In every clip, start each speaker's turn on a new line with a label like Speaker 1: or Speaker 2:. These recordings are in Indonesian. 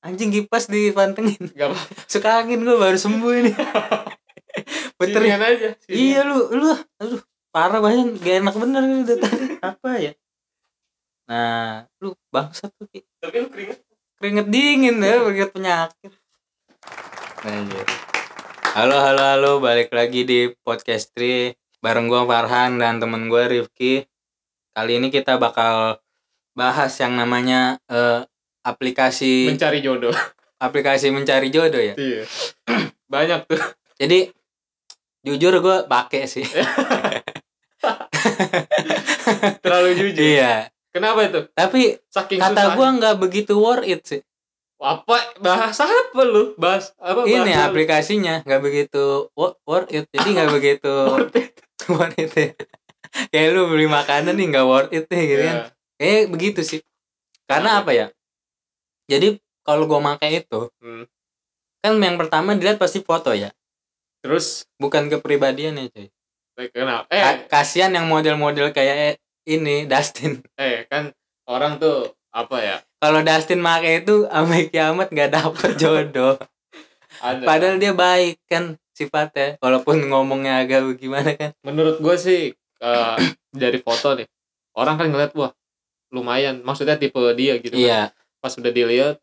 Speaker 1: Anjing kipas dipantengin.
Speaker 2: Gak apa-apa.
Speaker 1: Suka angin gue baru sembuh ini. Beterin.
Speaker 2: Sinian aja. sinian.
Speaker 1: ya? Iya lu, lu, aduh parah banget, gak enak bener ini dari tadi. Apa ya? Nah, lu bangsat tuh Ki.
Speaker 2: Tapi lu keringet.
Speaker 1: keringet dingin ya, keringet penyakit. Anjir. Halo, halo, halo, balik lagi di podcast Tri bareng gua Farhan dan temen gua Rifki. Kali ini kita bakal bahas yang namanya eh, aplikasi
Speaker 2: Mencari jodoh.
Speaker 1: aplikasi mencari jodoh ya.
Speaker 2: Iya. Banyak tuh.
Speaker 1: Jadi jujur gua pakai sih.
Speaker 2: Terlalu jujur.
Speaker 1: iya.
Speaker 2: Kenapa itu?
Speaker 1: Tapi
Speaker 2: Saking susah.
Speaker 1: kata gua nggak begitu worth it sih
Speaker 2: apa bahasa apa lu? Bahas apa
Speaker 1: ini
Speaker 2: Oh, bahasa lu?
Speaker 1: aplikasinya nggak begitu wo- worth it jadi nggak begitu
Speaker 2: Worth it.
Speaker 1: worth it ya. kayak lu beli makanan nih nggak worth it nih gitu kan
Speaker 2: Iya.
Speaker 1: kayak begitu sih karena apa ya jadi kalau gua pakai itu
Speaker 2: Hmm.
Speaker 1: kan yang pertama dilihat pasti foto ya
Speaker 2: Terus
Speaker 1: bukan kepribadian ya
Speaker 2: Eh.
Speaker 1: cuy
Speaker 2: like, kenapa?
Speaker 1: Ka-
Speaker 2: Eh,
Speaker 1: kasihan yang model-model kayak eh, ini Dustin
Speaker 2: eh kan orang tuh apa ya?
Speaker 1: kalau Dustin pakai itu sampai kiamat nggak dapet jodoh
Speaker 2: Ada.
Speaker 1: Padahal dia baik kan sifatnya, walaupun ngomongnya agak gimana kan.
Speaker 2: menurut gue sih eh, dari foto nih orang kan ngeliat wah lumayan maksudnya tipe dia gitu kan.
Speaker 1: Iya.
Speaker 2: pas udah dilihat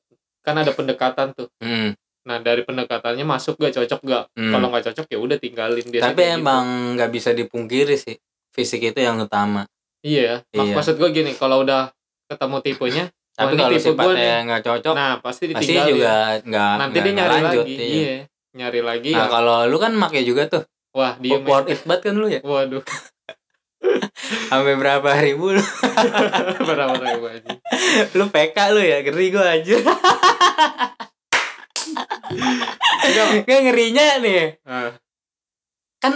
Speaker 2: kan ada pendekatan tuh
Speaker 1: Hmm,
Speaker 2: nah dari pendekatannya masuk gak cocok gak
Speaker 1: hmm.
Speaker 2: kalau nggak cocok ya udah tinggalin dia gitu.
Speaker 1: Tapi emang nggak bisa dipungkiri sih, fisik itu yang utama.
Speaker 2: iya
Speaker 1: Iya.
Speaker 2: mak- maksud gue gini kalau udah ketemu tipenya Wah,
Speaker 1: Tapi
Speaker 2: Oh, ini
Speaker 1: kalau
Speaker 2: tipe gua nih.
Speaker 1: sifatnya nggak cocok,
Speaker 2: nah pasti
Speaker 1: pasti
Speaker 2: ditinggalin
Speaker 1: juga nggak
Speaker 2: nanti
Speaker 1: nggak-
Speaker 2: dia
Speaker 1: nggak
Speaker 2: nyari
Speaker 1: lanjut,
Speaker 2: lagi
Speaker 1: iya.
Speaker 2: iya. nyari lagi
Speaker 1: Nah
Speaker 2: ya.
Speaker 1: kalau lu kan make juga tuh,
Speaker 2: wah dia
Speaker 1: worth it banget kan lu ya,
Speaker 2: waduh
Speaker 1: sampai berapa ribu lu,
Speaker 2: parah-parah gue aja
Speaker 1: lu PK lu ya, ngeri gua aja. Kan ngerinya nih,
Speaker 2: nah,
Speaker 1: kan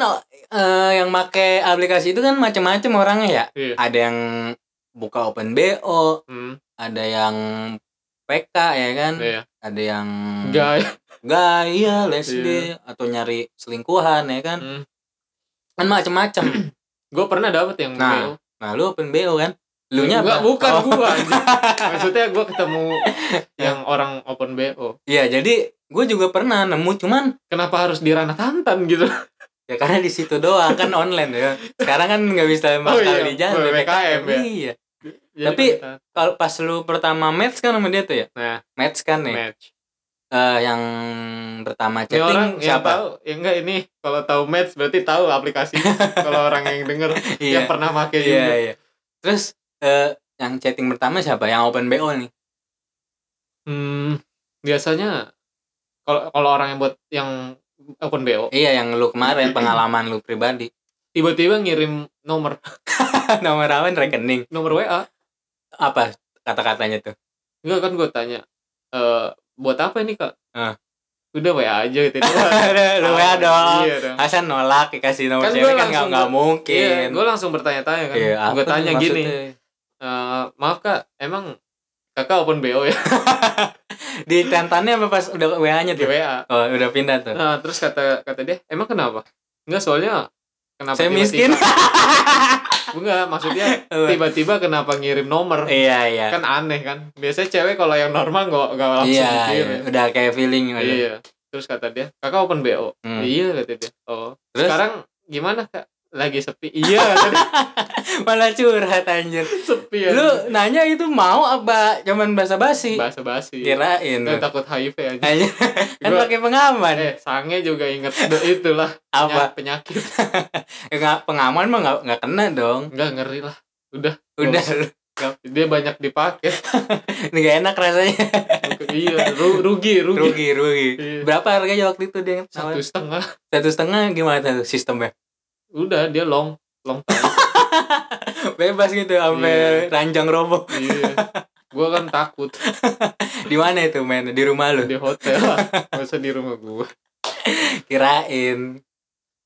Speaker 1: eh, yang make aplikasi itu kan macem-macem orangnya ya.
Speaker 2: iya.
Speaker 1: Ada yang buka open BO,
Speaker 2: Hmm,
Speaker 1: ada yang PK ya kan
Speaker 2: iya.
Speaker 1: ada yang
Speaker 2: Guys.
Speaker 1: gaya
Speaker 2: Iya.
Speaker 1: lesbi atau nyari selingkuhan ya kan
Speaker 2: Hmm.
Speaker 1: kan macem-macem
Speaker 2: gue pernah dapet yang
Speaker 1: Nah,
Speaker 2: BO.
Speaker 1: nah lu open BO kan lu nya apa
Speaker 2: Enggak, bukan
Speaker 1: Oh,
Speaker 2: gua anjing. Maksudnya gua ketemu yang orang open BO.
Speaker 1: iya jadi gue juga pernah nemu cuman
Speaker 2: Kenapa harus di ranah tantan gitu?
Speaker 1: ya karena di situ doang kan online ya sekarang kan nggak bisa bakal
Speaker 2: iya,
Speaker 1: di jalan
Speaker 2: PPKM ya.
Speaker 1: iya
Speaker 2: Jadi
Speaker 1: Tapi-
Speaker 2: ranah tantan.
Speaker 1: kalau pas lu pertama match kan sama dia tuh ya
Speaker 2: nah,
Speaker 1: match kan nih
Speaker 2: match.
Speaker 1: Eh, yang pertama
Speaker 2: Ini
Speaker 1: chatting
Speaker 2: orang yang
Speaker 1: siapa
Speaker 2: tahu, ya enggak ini kalau tahu match berarti tahu aplikasi. kalau orang yang denger yang pernah pakai
Speaker 1: Iya
Speaker 2: juga.
Speaker 1: iya. Terus eh yang chatting pertama siapa? Yang open BO nih.
Speaker 2: Hmm, biasanya kalau kalau orang yang buat yang open BO
Speaker 1: Iya yang lu kemarin pengalaman lu pribadi.
Speaker 2: tiba-tiba ngirim nomor
Speaker 1: Nomor awan rekening.
Speaker 2: nomor WA.
Speaker 1: Apa kata-katanya tuh?
Speaker 2: Enggak kan gua tanya eh buat apa ini, Kak?
Speaker 1: Ah.
Speaker 2: Udah WA aja gitu.
Speaker 1: lu ya dong.
Speaker 2: Iya dong.
Speaker 1: Masa nolak dikasih nomor
Speaker 2: Kan
Speaker 1: cewek
Speaker 2: gua
Speaker 1: kan nggak
Speaker 2: langsung
Speaker 1: nggak
Speaker 2: Iya,
Speaker 1: mungkin.
Speaker 2: gue langsung bertanya-tanya kan.
Speaker 1: Iya, apa
Speaker 2: gue
Speaker 1: tuh
Speaker 2: tanya gini,
Speaker 1: maksudnya?
Speaker 2: "Eh, maaf kak, emang kakak open BO ya
Speaker 1: Di tentannya apa pas udah WA-nya
Speaker 2: di
Speaker 1: tuh?
Speaker 2: WA?
Speaker 1: Oh, udah pindah tuh.
Speaker 2: Nah, terus kata kata dia, emang kenapa? Enggak soalnya kenapa
Speaker 1: Saya miskin.
Speaker 2: tiba-tiba- Enggak, maksudnya tiba-tiba kenapa ngirim nomor?
Speaker 1: iya, iya.
Speaker 2: Kan aneh kan. Biasanya cewek kalau yang normal nggak nggak langsung
Speaker 1: Iya, iya.
Speaker 2: dikirim.
Speaker 1: udah kayak feeling
Speaker 2: Iya.
Speaker 1: udah.
Speaker 2: Terus kata dia, kakak open BO.
Speaker 1: Hmm.
Speaker 2: Iya kata dia. Oh.
Speaker 1: Terus
Speaker 2: Sekarang gimana kak? Lagi sepi. Iya kata dia.
Speaker 1: malah curhat anjir.
Speaker 2: sepi ya.
Speaker 1: Lu nanya itu mau apa cuman basa-basi?
Speaker 2: bahasa basi.
Speaker 1: Kirain.
Speaker 2: Gue takut HIV aja.
Speaker 1: Aja. kan
Speaker 2: Gua-
Speaker 1: pakai pengaman
Speaker 2: Eh, sange juga inget do- itulah
Speaker 1: apa Ya,
Speaker 2: penya- penyakit. iya.
Speaker 1: nggak pengaman mah nggak nggak kena dong
Speaker 2: Enggak ngeri lah. Iya,
Speaker 1: udah
Speaker 2: Dia banyak dipakai.
Speaker 1: nggak enak rasanya
Speaker 2: iya, ru- rugi, rugi.
Speaker 1: rugi rugi
Speaker 2: Iya.
Speaker 1: berapa harganya waktu itu dia satu,
Speaker 2: Satu setengah.
Speaker 1: satu setengah gimana tuh sistemnya
Speaker 2: Udah dia long long time.
Speaker 1: bebas gitu sampai ranjang roboh
Speaker 2: iya. Gua kan takut
Speaker 1: di mana itu main di rumah lu
Speaker 2: di hotel. Masa di rumah gua.
Speaker 1: kirain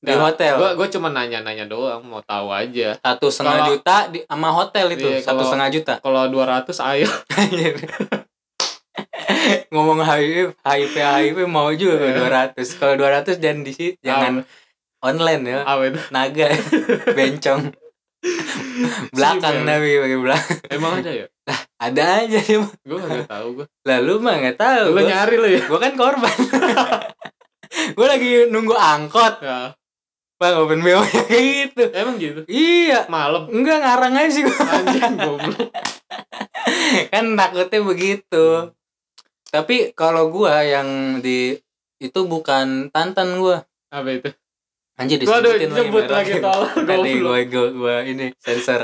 Speaker 1: di
Speaker 2: Nggak,
Speaker 1: hotel
Speaker 2: Gua gua cuma nanya-nanya doang, mau tahu aja.
Speaker 1: satu setengah
Speaker 2: kalau-
Speaker 1: juta di, sama hotel itu
Speaker 2: Iya,
Speaker 1: satu
Speaker 2: kalau-
Speaker 1: setengah juta
Speaker 2: Kalau 200 ayo.
Speaker 1: Anjir. ngomong HIV HIV HIV mau juga
Speaker 2: Iya.
Speaker 1: 200 kalau 200 jangan di situ jangan online ya
Speaker 2: Awet.
Speaker 1: naga bencong belakang
Speaker 2: Sipil.
Speaker 1: tapi pakai belakang
Speaker 2: Emang ada ya?
Speaker 1: ada aja dia mah.
Speaker 2: Gue gak tahu gue.
Speaker 1: lalu mah nggak tahu
Speaker 2: Lu nyari lu ya.
Speaker 1: gue kan korban gue lagi nunggu angkot
Speaker 2: Ya,
Speaker 1: pak open bo kayak gitu
Speaker 2: Emang gitu.
Speaker 1: iya
Speaker 2: Malam
Speaker 1: enggak ngarang aja sih gua.
Speaker 2: anjing goblok.
Speaker 1: kan takutnya begitu
Speaker 2: Hmm.
Speaker 1: tapi kalau gua yang di itu bukan tantan gua
Speaker 2: Apa itu?
Speaker 1: anjir
Speaker 2: Waduh,
Speaker 1: disebutin lagi
Speaker 2: nyebut
Speaker 1: merek.
Speaker 2: lagi tolong
Speaker 1: Tadi
Speaker 2: goblok.
Speaker 1: gue gue gue ini sensor.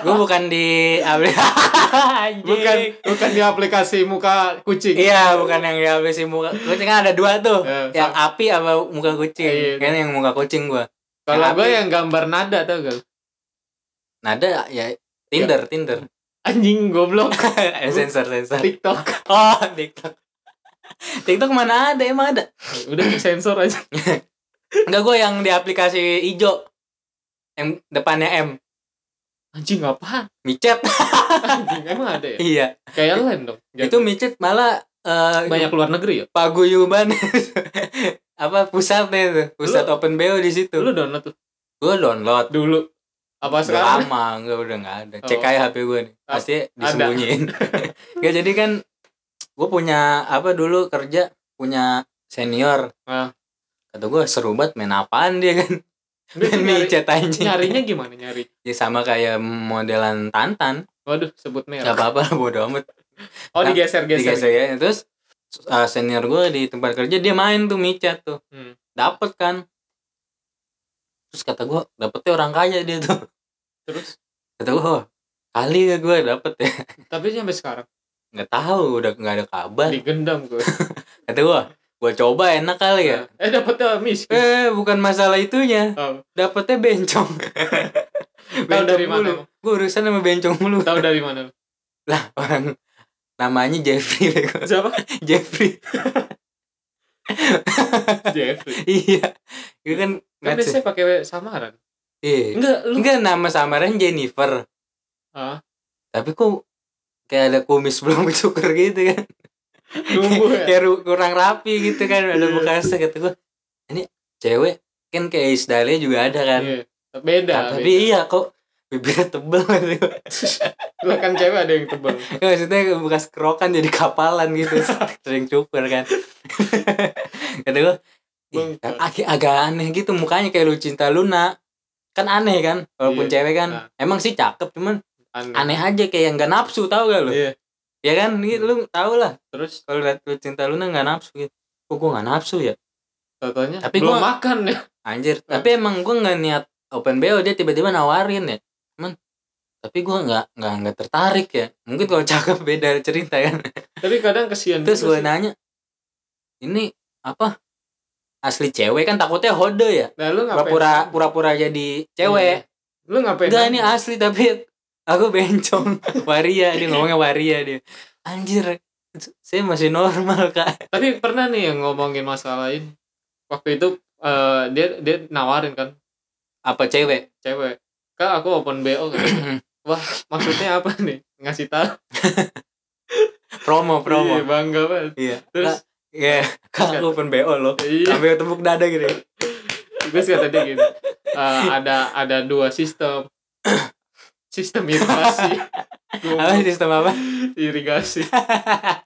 Speaker 1: gue bukan di Anjing.
Speaker 2: Bukan bukan di aplikasi muka kucing.
Speaker 1: Iya, bukan yang di aplikasi muka kucing kan ada dua tuh.
Speaker 2: Ya,
Speaker 1: yang api sama muka kucing.
Speaker 2: Iya, iya.
Speaker 1: Kan yang muka kucing gua. Yang
Speaker 2: Kalau gue
Speaker 1: api.
Speaker 2: yang gambar nada tau gak? lu?
Speaker 1: Nada ya Tinder,
Speaker 2: Iya.
Speaker 1: Tinder.
Speaker 2: Anjing goblok
Speaker 1: Eh, sensor, sensor.
Speaker 2: TikTok.
Speaker 1: Oh, TikTok. TikTok mana ada emang ada?
Speaker 2: Udah sensor aja.
Speaker 1: Enggak gua yang di aplikasi ijo. Yang depannya M.
Speaker 2: Anjing apaan?
Speaker 1: Micet.
Speaker 2: Anjing emang ada ya?
Speaker 1: iya.
Speaker 2: Kayak lain dong.
Speaker 1: Itu micet malah eh,
Speaker 2: banyak luar negeri ya?
Speaker 1: paguyuban apa pusatnya itu pusat open bo di situ
Speaker 2: Lu download tuh
Speaker 1: gue download
Speaker 2: dulu. Apa
Speaker 1: udah
Speaker 2: sekarang?
Speaker 1: lama gue udah nggak ada
Speaker 2: Oh.
Speaker 1: cek aja hp gue nih
Speaker 2: Ah,
Speaker 1: pasti disembunyiin ya jadi kan gue punya apa dulu kerja punya senior
Speaker 2: Ah.
Speaker 1: kata gue seru banget main apaan dia kan
Speaker 2: Dia tuh
Speaker 1: main
Speaker 2: nyari-
Speaker 1: micet anjing
Speaker 2: nyarinya gimana nyari?
Speaker 1: ya sama kayak modelan tantan
Speaker 2: Waduh, sebut
Speaker 1: nggak
Speaker 2: merek.
Speaker 1: apa-apa bodo amat
Speaker 2: Oh,
Speaker 1: Nah,
Speaker 2: digeser-geser.
Speaker 1: digeser ya terus uh, senior gue di tempat kerja dia main tuh micet tuh
Speaker 2: Hmm.
Speaker 1: dapet kan terus kata gue dapetnya orang kaya dia tuh
Speaker 2: Terus
Speaker 1: kata gue "Wah, kali gak gue dapet ya
Speaker 2: tapi sampai sekarang
Speaker 1: nggak tahu udah nggak ada kabar
Speaker 2: digendam gue.
Speaker 1: kata gue gue coba enak kali ya
Speaker 2: Eh dapatnya miskin.
Speaker 1: eh bukan masalah itunya
Speaker 2: Tahu
Speaker 1: dapetnya bencong
Speaker 2: Tahu dari
Speaker 1: mulu
Speaker 2: mana?
Speaker 1: gue urusan sama bencong mulu
Speaker 2: Tahu dari mana? lu?
Speaker 1: lah orang namanya Jeffrey bego.
Speaker 2: Siapa?
Speaker 1: Jeffrey
Speaker 2: Jeffrey.
Speaker 1: iya itu kan
Speaker 2: Kan
Speaker 1: match ya.
Speaker 2: biasanya pakai samaran.
Speaker 1: iya
Speaker 2: Enggak, lu.
Speaker 1: Enggak nama samaran Jennifer.
Speaker 2: Ah,
Speaker 1: Tapi kok kayak ada kumis belum cukur gitu kan.
Speaker 2: nunggu ya.
Speaker 1: kayak ru- kurang rapi gitu kan ada
Speaker 2: Iya.
Speaker 1: bekasnya kata gua. Ini cewek kan kayak Isdale juga ada kan.
Speaker 2: Iya. Beda.
Speaker 1: Tapi iya kok bibirnya tebel gitu. Ya,
Speaker 2: Lu kan cewek ada yang tebal.
Speaker 1: Iya. Maksudnya bekas kerokan jadi kapalan gitu Sering cukur kan Kata gua "Ih,
Speaker 2: Bengkak.
Speaker 1: ag- agak aneh gitu mukanya kayak Lucinta Luna Kan aneh kan Walaupun
Speaker 2: Iya.
Speaker 1: cewek kan
Speaker 2: Nah.
Speaker 1: Emang sih cakep cuman
Speaker 2: Aneh.
Speaker 1: aneh aja kayak yang nggak nafsu tau gak lu
Speaker 2: Iya.
Speaker 1: ya kan gitu lu tau lah
Speaker 2: Terus
Speaker 1: kalau lihat lu cinta lu nggak nafsu gitu kok gue nggak nafsu ya
Speaker 2: totalnya
Speaker 1: Tapi
Speaker 2: belum
Speaker 1: gua-
Speaker 2: makan ya.
Speaker 1: anjir
Speaker 2: Hah?
Speaker 1: tapi emang gue nggak niat open bo dia tiba-tiba nawarin ya cuman tapi gue nggak nggak nggak tertarik ya mungkin kalau cakep beda cerita kan
Speaker 2: Tapi kadang kesian
Speaker 1: terus gue
Speaker 2: juga sih.
Speaker 1: nanya ini apa asli cewek kan takutnya hode ya Iya,
Speaker 2: Nah, lu ngapain? Iya.
Speaker 1: pura-pura pura-pura jadi cewek
Speaker 2: Lu ngapain?
Speaker 1: Enggak ini asli tapi aku bencong waria dia ngomongnya waria dia anjir saya masih normal kak
Speaker 2: Tapi pernah nih yang ngomongin masalah ini. Waktu itu eh, dia dia nawarin kan
Speaker 1: apa cewek
Speaker 2: cewek. Kak aku open BO katanya. Wah, maksudnya apa nih? Ngasih tahu.
Speaker 1: promo
Speaker 2: Iya,
Speaker 1: promo
Speaker 2: bangga banget.
Speaker 1: iya
Speaker 2: Terus
Speaker 1: ya kak aku open bo loh
Speaker 2: iya,
Speaker 1: sampai tepuk dada gitu
Speaker 2: terus kata dia gini. "Eh, ada ada dua sistem. Sistem irigasi.
Speaker 1: apa
Speaker 2: Gua-
Speaker 1: sistem apa
Speaker 2: irigasi.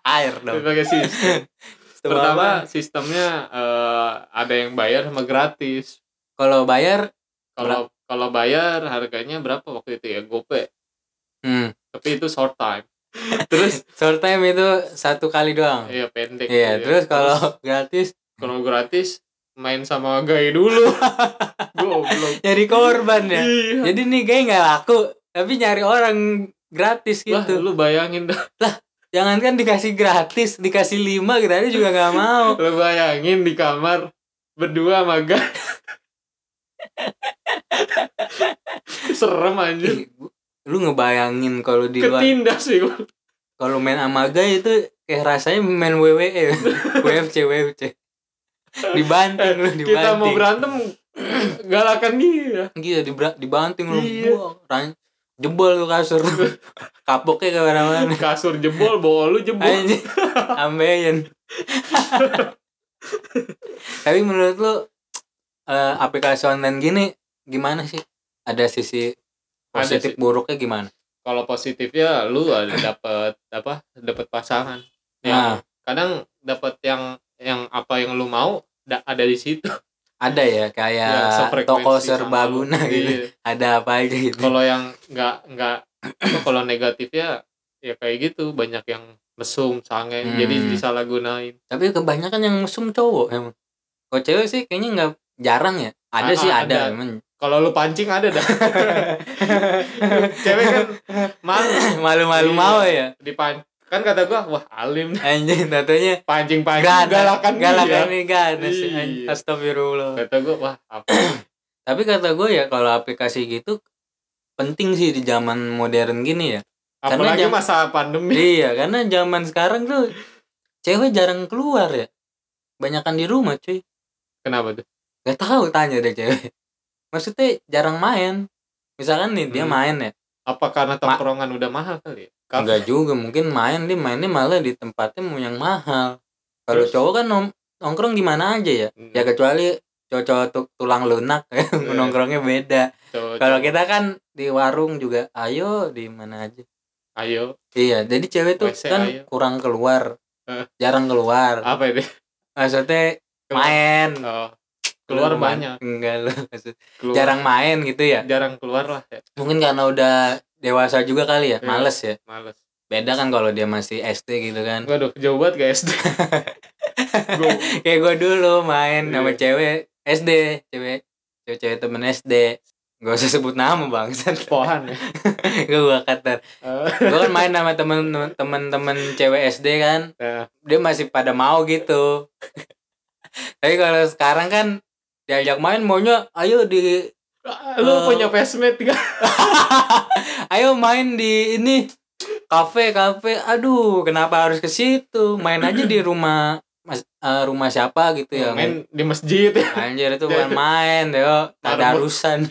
Speaker 1: air dong
Speaker 2: Berbagai sistem.
Speaker 1: sistem apa?
Speaker 2: Iya. Pertama sistemnya eh, ada yang bayar sama gratis.
Speaker 1: kalau bayar
Speaker 2: Kalau kalau bayar harganya berapa waktu itu ya? Gope.
Speaker 1: hmm,
Speaker 2: Tapi itu short time. Terus
Speaker 1: short time itu satu kali doang
Speaker 2: Iya pendek.
Speaker 1: iya
Speaker 2: gitu ya.
Speaker 1: terus kalau gratis
Speaker 2: kalau gratis main sama gay dulu. Goblok.
Speaker 1: jadi korban ya
Speaker 2: Iya.
Speaker 1: jadi nih kayak nggak laku tapi nyari orang gratis
Speaker 2: Wah,
Speaker 1: gitu
Speaker 2: lu bayangin dah.
Speaker 1: Jangankan dikasih gratis, dikasih lima gratis juga nggak mau.
Speaker 2: Lu bayangin di kamar berdua sama gay. Serem
Speaker 1: Ih,
Speaker 2: anjir.
Speaker 1: lu ngebayangin kalau di luar,
Speaker 2: Ketindas sih gua.
Speaker 1: kalau main amaga itu kayak rasanya main E. WWE, WFC, WFC. Dibanting lu, dibanting.
Speaker 2: Kita mau berantem galakan dia.
Speaker 1: Gitu, dibra- dibanting lu.
Speaker 2: Iya.
Speaker 1: Buang, ran- jebol tuh kasur. Kapoknya ke mana-mana.
Speaker 2: Kasur jebol, bolu jebol.
Speaker 1: Anjing, ambeien. Tapi menurut lu eh, aplikasi online gini gimana sih? Ada sisi
Speaker 2: Ada
Speaker 1: positif
Speaker 2: sih.
Speaker 1: buruknya gimana
Speaker 2: Kalau positifnya lu ada dapat apa? Dapat pasangan. Ya,
Speaker 1: nah
Speaker 2: kadang dapat yang yang apa yang lu mau da- ada di situ.
Speaker 1: ada ya
Speaker 2: Ya,
Speaker 1: kayak
Speaker 2: sefrekuensi
Speaker 1: toko
Speaker 2: sama lu.
Speaker 1: serbaguna gitu
Speaker 2: Iya.
Speaker 1: ada apa aja gitu
Speaker 2: Kalau yang nggak nggak apa, kalau negatifnya ya kayak gitu banyak yang mesum, sange,
Speaker 1: Hmm.
Speaker 2: jadi disalahgunain.
Speaker 1: tapi kebanyakan yang mesum cowok emang kalau cewek sih kayaknya nggak jarang ya ada
Speaker 2: Ah,
Speaker 1: sih
Speaker 2: ah,
Speaker 1: ada,
Speaker 2: ada.
Speaker 1: emang
Speaker 2: Kalau lu pancing ada dah. Cewek kan malu
Speaker 1: malu-malu
Speaker 2: Iya.
Speaker 1: mau ya
Speaker 2: dipan kan kata gua wah alim
Speaker 1: anjing tentunya
Speaker 2: pancing pancing
Speaker 1: gak ada
Speaker 2: galakan ya." dia.
Speaker 1: galakan ini gak ada sih
Speaker 2: Iya.
Speaker 1: anjing. astagfirullah
Speaker 2: kata gua wah apa
Speaker 1: tapi kata gue ya kalau aplikasi gitu penting sih di zaman modern gini ya Karena
Speaker 2: apalagi
Speaker 1: jam-
Speaker 2: masa pandemi
Speaker 1: iya karena zaman sekarang tuh cewek jarang keluar ya banyakan di rumah cuy
Speaker 2: kenapa tuh
Speaker 1: Gak tahu tanya deh cewek maksudnya jarang main misalkan nih dia
Speaker 2: Hmm.
Speaker 1: main ya
Speaker 2: apa karena tongkrongan udah mahal kali ya? Kar-
Speaker 1: Enggak juga, mungkin main dia mainnya malah di tempatnya mau yang mahal. Kalau
Speaker 2: Terus?
Speaker 1: cowok kan nom- nongkrong di mana aja ya?
Speaker 2: Hmm,
Speaker 1: Ya kecuali cowok-cowok tu- tulang lunak ya,
Speaker 2: Iya.
Speaker 1: nongkrongnya beda.
Speaker 2: cowok-
Speaker 1: Kalau
Speaker 2: cowok.
Speaker 1: kita kan di warung juga ayo di mana aja.
Speaker 2: ayo
Speaker 1: Iya, jadi cewek tuh
Speaker 2: WC,
Speaker 1: kan
Speaker 2: ayo.
Speaker 1: kurang keluar.
Speaker 2: Eh.
Speaker 1: Jarang keluar.
Speaker 2: apa ya Oh, ini
Speaker 1: Maksudnya
Speaker 2: Keluar.
Speaker 1: main.
Speaker 2: Oh, keluar
Speaker 1: Lu ma-
Speaker 2: banyak
Speaker 1: Enggak lah. maksud-
Speaker 2: keluar.
Speaker 1: Jarang main gitu ya.
Speaker 2: jarang keluar lah ya
Speaker 1: Mungkin karena udah dewasa juga kali ya,
Speaker 2: Iya.
Speaker 1: males ya.
Speaker 2: males
Speaker 1: Beda kan kalau dia masih SD gitu kan.
Speaker 2: waduh jauh banget guys Gua-
Speaker 1: kayak gue dulu main sama
Speaker 2: Iya.
Speaker 1: cewek SD cewek cewek cewek temen SD gak usah sebut nama bang
Speaker 2: pohan ya
Speaker 1: gue gua kata
Speaker 2: Eh,
Speaker 1: gue kan main sama temen temen temen cewek SD kan
Speaker 2: nah,
Speaker 1: dia masih pada mau gitu tapi kalau sekarang kan diajak main maunya ayo di
Speaker 2: ah,
Speaker 1: Eh.
Speaker 2: lu punya pesmet gak
Speaker 1: ayo main di ini kafe kafe aduh kenapa harus ke situ main aja di rumah mas- eh, rumah siapa gitu ya
Speaker 2: main di masjid ya
Speaker 1: Anjir itu bukan main yo tadarusan.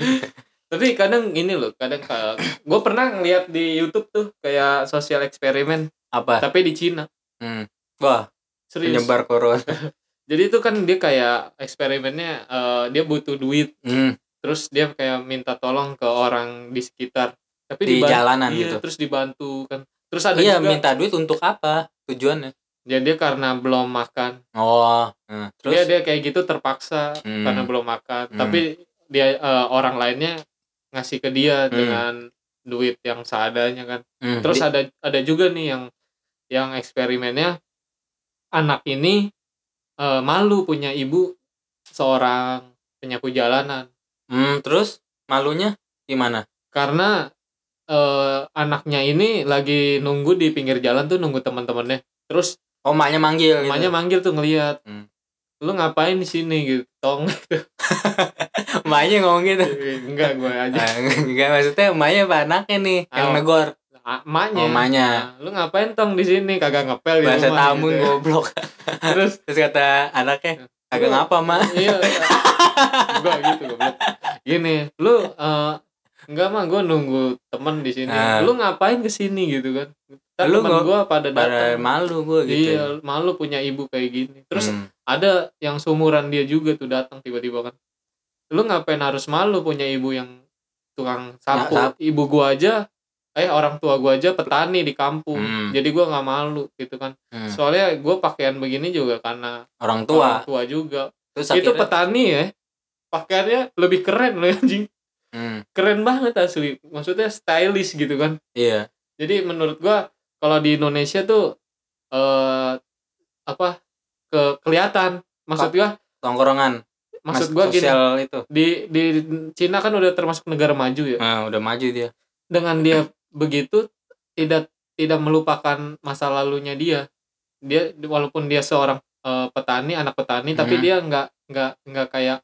Speaker 2: tapi kadang ini loh kadang gue pernah ngeliat di YouTube tuh kayak sosial eksperimen
Speaker 1: Apa?
Speaker 2: tapi di Cina
Speaker 1: Hmm. Wah,
Speaker 2: serius
Speaker 1: penyebar corona.
Speaker 2: jadi itu kan dia kayak eksperimennya eh, dia butuh duit
Speaker 1: Hmm,
Speaker 2: terus dia kayak minta tolong ke orang di sekitar tapi
Speaker 1: di
Speaker 2: dibantu-
Speaker 1: jalanan
Speaker 2: iya,
Speaker 1: gitu.
Speaker 2: terus dibantu kan terus ada
Speaker 1: Iya,
Speaker 2: juga
Speaker 1: minta duit untuk apa? Tujuannya.
Speaker 2: jadi dia karena belum makan
Speaker 1: Oh, nah,
Speaker 2: dia
Speaker 1: terus
Speaker 2: dia kayak gitu terpaksa
Speaker 1: Hmm.
Speaker 2: karena belum makan
Speaker 1: Hmm.
Speaker 2: tapi dia eh, orang lainnya ngasih ke
Speaker 1: Hmm.
Speaker 2: dia dengan duit yang seadanya kan
Speaker 1: hmm,
Speaker 2: terus
Speaker 1: di-
Speaker 2: ada ada juga nih yang yang eksperimennya anak ini eh, malu punya ibu seorang penyapu jalanan
Speaker 1: hmm, terus malunya gimana?
Speaker 2: karena eh, anaknya ini lagi nunggu di pinggir jalan tuh nunggu teman-temannya terus
Speaker 1: Oh, maknya manggil gitu.
Speaker 2: emaknya manggil tuh ngeliat
Speaker 1: Hmm.
Speaker 2: lu ngapain di sini gitu tong
Speaker 1: Emaknya ngomong gitu.
Speaker 2: enggak gue aja
Speaker 1: Ah, Enggak maksudnya emaknya apa anaknya nih yang
Speaker 2: Oh.
Speaker 1: negor
Speaker 2: Ah, emaknya
Speaker 1: Oh, emaknya.
Speaker 2: Nah, lu ngapain tong di sini kagak ngepel di
Speaker 1: bahasa
Speaker 2: rumah
Speaker 1: tamun
Speaker 2: gitu.
Speaker 1: goblok
Speaker 2: terus
Speaker 1: terus kata anaknya kagak
Speaker 2: Lu-
Speaker 1: ngapa mah
Speaker 2: iya enggak gitu goblok gini lu eh, enggak mah gue nunggu temen di sini
Speaker 1: Ah.
Speaker 2: lu ngapain ke sini gitu kan Ntar
Speaker 1: Lu
Speaker 2: temen
Speaker 1: ngo-
Speaker 2: gue pada
Speaker 1: pada
Speaker 2: datang
Speaker 1: malu gue gitu
Speaker 2: iya malu punya ibu kayak gini terus
Speaker 1: Hmm.
Speaker 2: ada yang seumuran dia juga tuh datang tiba-tiba kan lu ngapain harus malu punya ibu yang tukang sapu
Speaker 1: Ya,
Speaker 2: ibu gua aja eh orang tua gua aja petani di kampung
Speaker 1: Hmm.
Speaker 2: jadi gua nggak malu gitu kan
Speaker 1: Hmm.
Speaker 2: soalnya gua pakaian begini juga karena
Speaker 1: orang
Speaker 2: orang
Speaker 1: tua
Speaker 2: tua juga
Speaker 1: terus
Speaker 2: itu
Speaker 1: akhirnya
Speaker 2: petani ya pakaiannya lebih keren loh anjing
Speaker 1: Hmm,
Speaker 2: keren banget asli maksudnya stylish gitu kan
Speaker 1: iya
Speaker 2: jadi menurut gua kalau di Indonesia tuh eh apa ke kelihatan maksud gua
Speaker 1: tongkrongan Mas-
Speaker 2: maksud gua gini
Speaker 1: sosial itu
Speaker 2: di di Cina kan udah termasuk negara maju ya
Speaker 1: nah, udah maju dia
Speaker 2: dengan dia begitu tidak tidak melupakan masa lalunya dia dia walaupun dia seorang eh, petani anak petani tapi
Speaker 1: Hmm.
Speaker 2: dia nggak nggak nggak kayak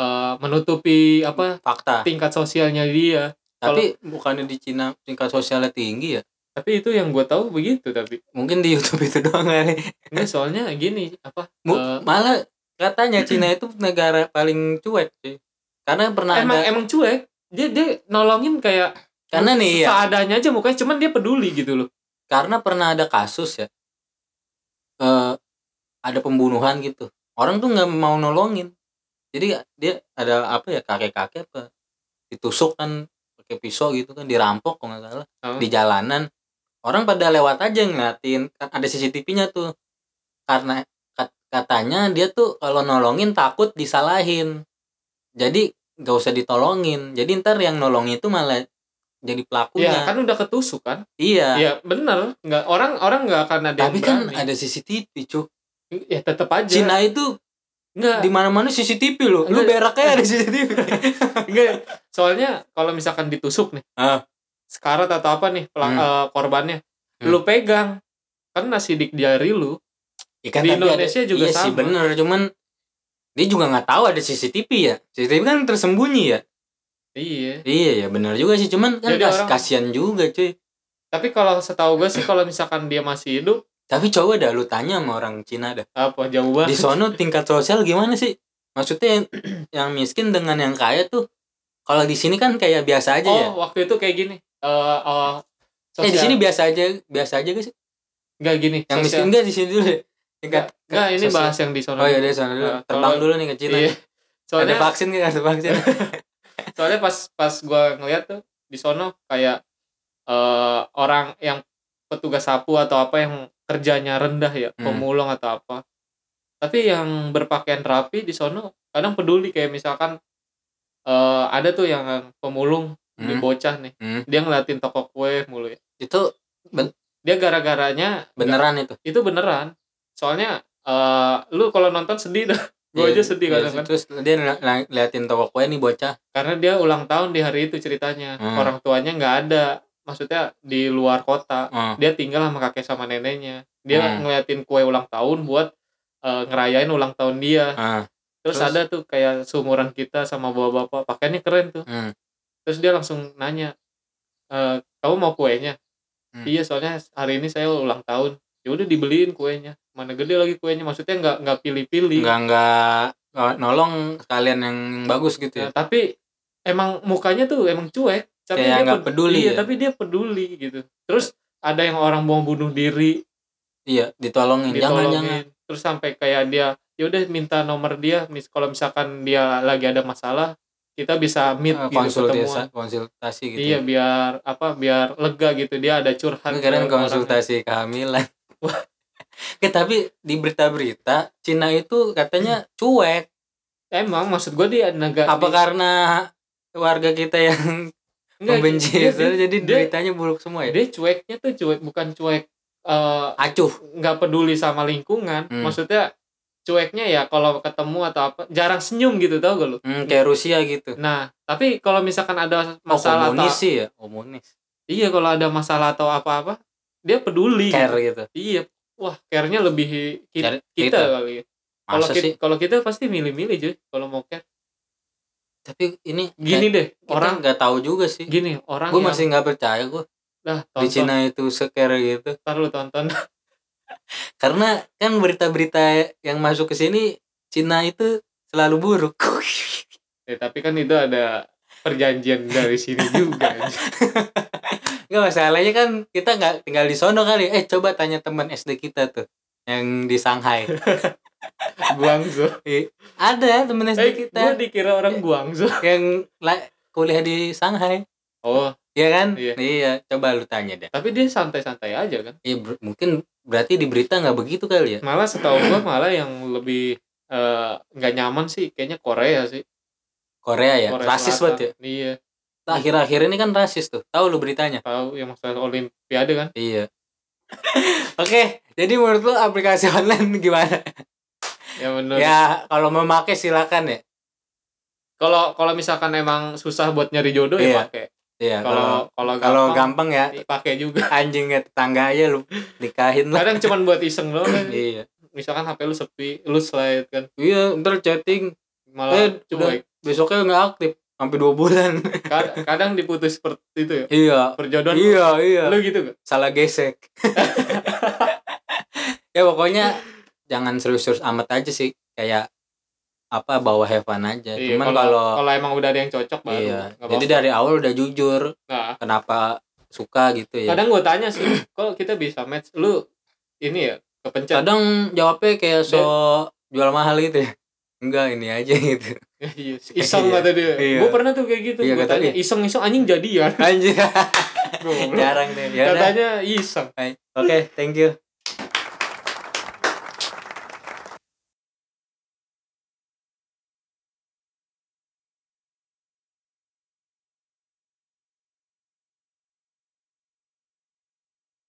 Speaker 2: eh, menutupi apa
Speaker 1: fakta
Speaker 2: tingkat sosialnya dia
Speaker 1: tapi bukannya di Cina tingkat sosialnya tinggi ya
Speaker 2: tapi itu yang gue tahu begitu tapi
Speaker 1: mungkin di YouTube itu doang kali
Speaker 2: nggak soalnya gini apa
Speaker 1: Mu-
Speaker 2: eh,
Speaker 1: malah katanya Cina itu negara paling cuek sih karena pernah
Speaker 2: emang
Speaker 1: ada
Speaker 2: emang cuek dia dia nolongin kayak
Speaker 1: karena nih ya
Speaker 2: seadanya aja mukanya cuman dia peduli gitu loh
Speaker 1: karena pernah ada kasus ya eh ada pembunuhan gitu orang tuh nggak mau nolongin jadi dia ada apa ya kakek kakek apa ditusuk kan pakai pisau gitu kan dirampok kalau nggak salah
Speaker 2: Heeh.
Speaker 1: di jalanan orang pada lewat aja ngeliatin kan ada CCTV-nya tuh karena kat- katanya dia tuh kalau nolongin takut disalahin jadi gak usah ditolongin jadi ntar yang nolongin itu malah jadi
Speaker 2: Iya,
Speaker 1: pelakunya
Speaker 2: kan udah ketusuk kan?
Speaker 1: iya
Speaker 2: Iya, bener. Nggak orang orang nggak akan ada
Speaker 1: tapi
Speaker 2: yang
Speaker 1: kan
Speaker 2: berani.
Speaker 1: ada CCTV cuk
Speaker 2: ya tetap aja.
Speaker 1: Cina itu
Speaker 2: Nggak,
Speaker 1: di mana mana CCTV lo lu
Speaker 2: Enggak.
Speaker 1: beraknya ada CCTV
Speaker 2: Enggak. Soalnya kalau misalkan ditusuk nih,
Speaker 1: Ah.
Speaker 2: sekarat atau apa nih pelak-
Speaker 1: Hmm.
Speaker 2: eh, korbannya,
Speaker 1: Hmm.
Speaker 2: lu pegang Kan karena sidik jari lu.
Speaker 1: Ikan
Speaker 2: Di Indonesia juga
Speaker 1: iya sih
Speaker 2: sama.
Speaker 1: bener cuman dia juga nggak tahu ada CCTV ya CCTV kan tersembunyi ya
Speaker 2: Iya.
Speaker 1: iya ya bener juga sih cuman kan
Speaker 2: Jadi
Speaker 1: kas-
Speaker 2: orang-
Speaker 1: kasihan juga cuy
Speaker 2: Tapi kalau setahu gue sih kalau misalkan dia masih hidup,
Speaker 1: tapi coba dah lu tanya sama orang Cina dah
Speaker 2: apa jauh
Speaker 1: di
Speaker 2: banget.
Speaker 1: sono tingkat sosial gimana sih maksudnya yang, yang miskin dengan yang kaya tuh kalau di sini kan kayak biasa aja
Speaker 2: oh,
Speaker 1: ya
Speaker 2: waktu itu kayak gini. Eh eh
Speaker 1: eh di
Speaker 2: sosial-
Speaker 1: sini biasa aja biasa aja gak sih
Speaker 2: nggak gini.
Speaker 1: yang miskin
Speaker 2: sosial-
Speaker 1: enggak di sini dulu ya? tingkat
Speaker 2: nggak nggak, ini
Speaker 1: sosial.
Speaker 2: bahas yang di sono.
Speaker 1: oh ya dari sono dulu
Speaker 2: Nah,
Speaker 1: terbang
Speaker 2: kalau-
Speaker 1: dulu nih ke Cina Eh,
Speaker 2: Iya.
Speaker 1: ada
Speaker 2: Soalnya
Speaker 1: vaksin nggak ada vaksin
Speaker 2: soalnya pas pas gua ngeliat tuh di sono kayak eh, orang yang petugas sapu atau apa yang kerjanya rendah ya
Speaker 1: Hmm.
Speaker 2: pemulung atau apa tapi yang berpakaian rapi di sono kadang peduli kayak misalkan eh, ada tuh yang pemulung di
Speaker 1: Hmm,
Speaker 2: bocah nih
Speaker 1: hmm.
Speaker 2: dia ngeliatin toko kue mulu ya
Speaker 1: itu
Speaker 2: dia gara-garanya
Speaker 1: beneran itu
Speaker 2: itu beneran soalnya eh, lu kalau nonton sedih dah gue
Speaker 1: Iya,
Speaker 2: aja sedih kan.
Speaker 1: iya,
Speaker 2: kadang-kadang
Speaker 1: Terus dia li- li- liatin toko kue nih bocah.
Speaker 2: karena dia ulang tahun di hari itu ceritanya
Speaker 1: Hmm.
Speaker 2: orang tuanya nggak ada maksudnya di luar kota
Speaker 1: Oh,
Speaker 2: dia tinggal sama kakek sama neneknya dia
Speaker 1: Hmm.
Speaker 2: ngeliatin kue ulang tahun buat eh, ngerayain ulang tahun dia
Speaker 1: ah, Terus?
Speaker 2: terus, ada tuh kayak seumuran kita sama bapak-bapak pakaiannya keren tuh
Speaker 1: hmm.
Speaker 2: terus dia langsung nanya "Eh, kamu mau kuenya
Speaker 1: Hmm.
Speaker 2: iya soalnya hari ini saya ulang tahun ya udah dibeliin kuenya mana gede lagi kuenya maksudnya nggak nggak pilih-pilih
Speaker 1: Enggak enggak nggak nolong kalian yang bagus gitu ya.
Speaker 2: Nah, tapi emang mukanya tuh emang cuek tapi
Speaker 1: Kayak nggak
Speaker 2: ped-
Speaker 1: peduli
Speaker 2: iya,
Speaker 1: ya?
Speaker 2: tapi dia peduli gitu terus ada yang orang mau bunuh diri
Speaker 1: Iya, ditolongin. Jangan jangan.
Speaker 2: ditolongin terus sampai kayak dia ya udah minta nomor dia mis kalau misalkan dia lagi ada masalah kita bisa meet
Speaker 1: Eh,
Speaker 2: gitu
Speaker 1: Konsultasi,
Speaker 2: ketemuan
Speaker 1: konsultasi gitu.
Speaker 2: iya biar apa biar lega gitu dia ada curhat
Speaker 1: Lu keren
Speaker 2: ke orangnya.
Speaker 1: konsultasi kehamilan. Oke, tapi di berita-berita Cina itu
Speaker 2: Hmm.
Speaker 1: katanya cuek.
Speaker 2: emang maksud gue dia negara
Speaker 1: Apa karena warga kita yang membenci Israel, jadi
Speaker 2: dia,
Speaker 1: beritanya buruk semua ya?
Speaker 2: dia cueknya tuh cuek bukan cuek eh,
Speaker 1: Acuh.
Speaker 2: nggak peduli sama lingkungan
Speaker 1: Hmm.
Speaker 2: maksudnya cueknya ya kalau ketemu atau apa jarang senyum gitu tau gak lu
Speaker 1: Hmm, kayak Rusia gitu.
Speaker 2: nah tapi kalau misalkan ada
Speaker 1: Oh,
Speaker 2: masalah atau,
Speaker 1: komunis sih ya, komunis.
Speaker 2: iya kalau ada masalah atau apa-apa dia peduli
Speaker 1: Care gitu.
Speaker 2: gitu. iya wah care-nya lebih ki-
Speaker 1: Care-
Speaker 2: kita,
Speaker 1: kita.
Speaker 2: kali ya. kalau
Speaker 1: Masa
Speaker 2: kita,
Speaker 1: sih?
Speaker 2: kalau kita pasti milih-milih cuy kalau mau care
Speaker 1: tapi ini
Speaker 2: gini deh
Speaker 1: orang
Speaker 2: orang
Speaker 1: nggak tahu juga sih
Speaker 2: gini orang
Speaker 1: gue
Speaker 2: yang-
Speaker 1: masih nggak percaya gue
Speaker 2: dah
Speaker 1: di
Speaker 2: tonton
Speaker 1: Cina itu scare gitu
Speaker 2: ntar lu tonton
Speaker 1: karena kan berita-berita yang masuk ke sini Cina itu selalu buruk
Speaker 2: ya, tapi kan itu ada perjanjian dari sini juga
Speaker 1: nggak masalahnya kan kita nggak tinggal di sono kali eh coba tanya teman SD kita tuh yang di Shanghai
Speaker 2: Guangzhou
Speaker 1: ada teman SD
Speaker 2: eh
Speaker 1: Iya, kita Iya.
Speaker 2: gue dikira orang Guangzhou
Speaker 1: yang la- kuliah di Shanghai
Speaker 2: oh
Speaker 1: ya kan
Speaker 2: Iya.
Speaker 1: coba lu tanya deh
Speaker 2: tapi dia santai-santai aja kan
Speaker 1: Iya, ber- mungkin berarti di berita nggak begitu kali ya
Speaker 2: malah setahu gua malah yang lebih eh, nggak nyaman sih kayaknya Korea sih
Speaker 1: Korea ya
Speaker 2: Korea
Speaker 1: rasis
Speaker 2: Selatan.
Speaker 1: banget ya
Speaker 2: iya
Speaker 1: akhir-akhir ini kan rasis tuh tahu lu beritanya
Speaker 2: tahu yang masalah Olimpiade kan
Speaker 1: Iya. Oke, jadi menurut lu aplikasi online gimana?
Speaker 2: ya bener
Speaker 1: Ya, kalau mau make silakan ya.
Speaker 2: kalau kalau misalkan emang susah buat nyari jodoh
Speaker 1: Iya.
Speaker 2: ya pakai
Speaker 1: Iya, kalau
Speaker 2: kalau
Speaker 1: kalau
Speaker 2: kalau gampang,
Speaker 1: gampang ya
Speaker 2: pakai juga
Speaker 1: anjingnya tetangga aja lu nikahin lah.
Speaker 2: kadang cuman buat iseng doang kan.
Speaker 1: Iya.
Speaker 2: misalkan HP lu sepi lu slide kan
Speaker 1: Iya, ntar chatting Eh,
Speaker 2: malah
Speaker 1: udah.
Speaker 2: cuek
Speaker 1: besoknya nggak aktif sampai dua bulan.
Speaker 2: Kad- kadang diputus seperti itu ya
Speaker 1: iya.
Speaker 2: perjodohan
Speaker 1: Iya, iya.
Speaker 2: lu gitu gak?
Speaker 1: Salah gesek. ya pokoknya jangan serius-serius amat aja sih kayak apa bawa heaven aja. Ya,
Speaker 2: Iya,
Speaker 1: Cuman
Speaker 2: kalau
Speaker 1: kalau
Speaker 2: kalau emang udah ada yang cocok baru
Speaker 1: iya.
Speaker 2: nggak
Speaker 1: Jadi
Speaker 2: apa-apa.
Speaker 1: dari awal udah jujur,
Speaker 2: nah
Speaker 1: kenapa suka gitu ya
Speaker 2: kadang gue tanya sih kok kita bisa match lu ini ya kepencet Iya.
Speaker 1: kadang, jawabnya kayak so jual mahal gitu ya enggak ini aja gitu
Speaker 2: Iya, iseng kata dia.
Speaker 1: Iya.
Speaker 2: Gue pernah tuh kayak gitu.
Speaker 1: Iya,
Speaker 2: gue
Speaker 1: kata
Speaker 2: tanya,
Speaker 1: dia.
Speaker 2: iseng-iseng anjing jadian.
Speaker 1: anjir
Speaker 2: Goblok.
Speaker 1: jarang deh ya udah.
Speaker 2: Katanya iseng.
Speaker 1: Baik. oke thank you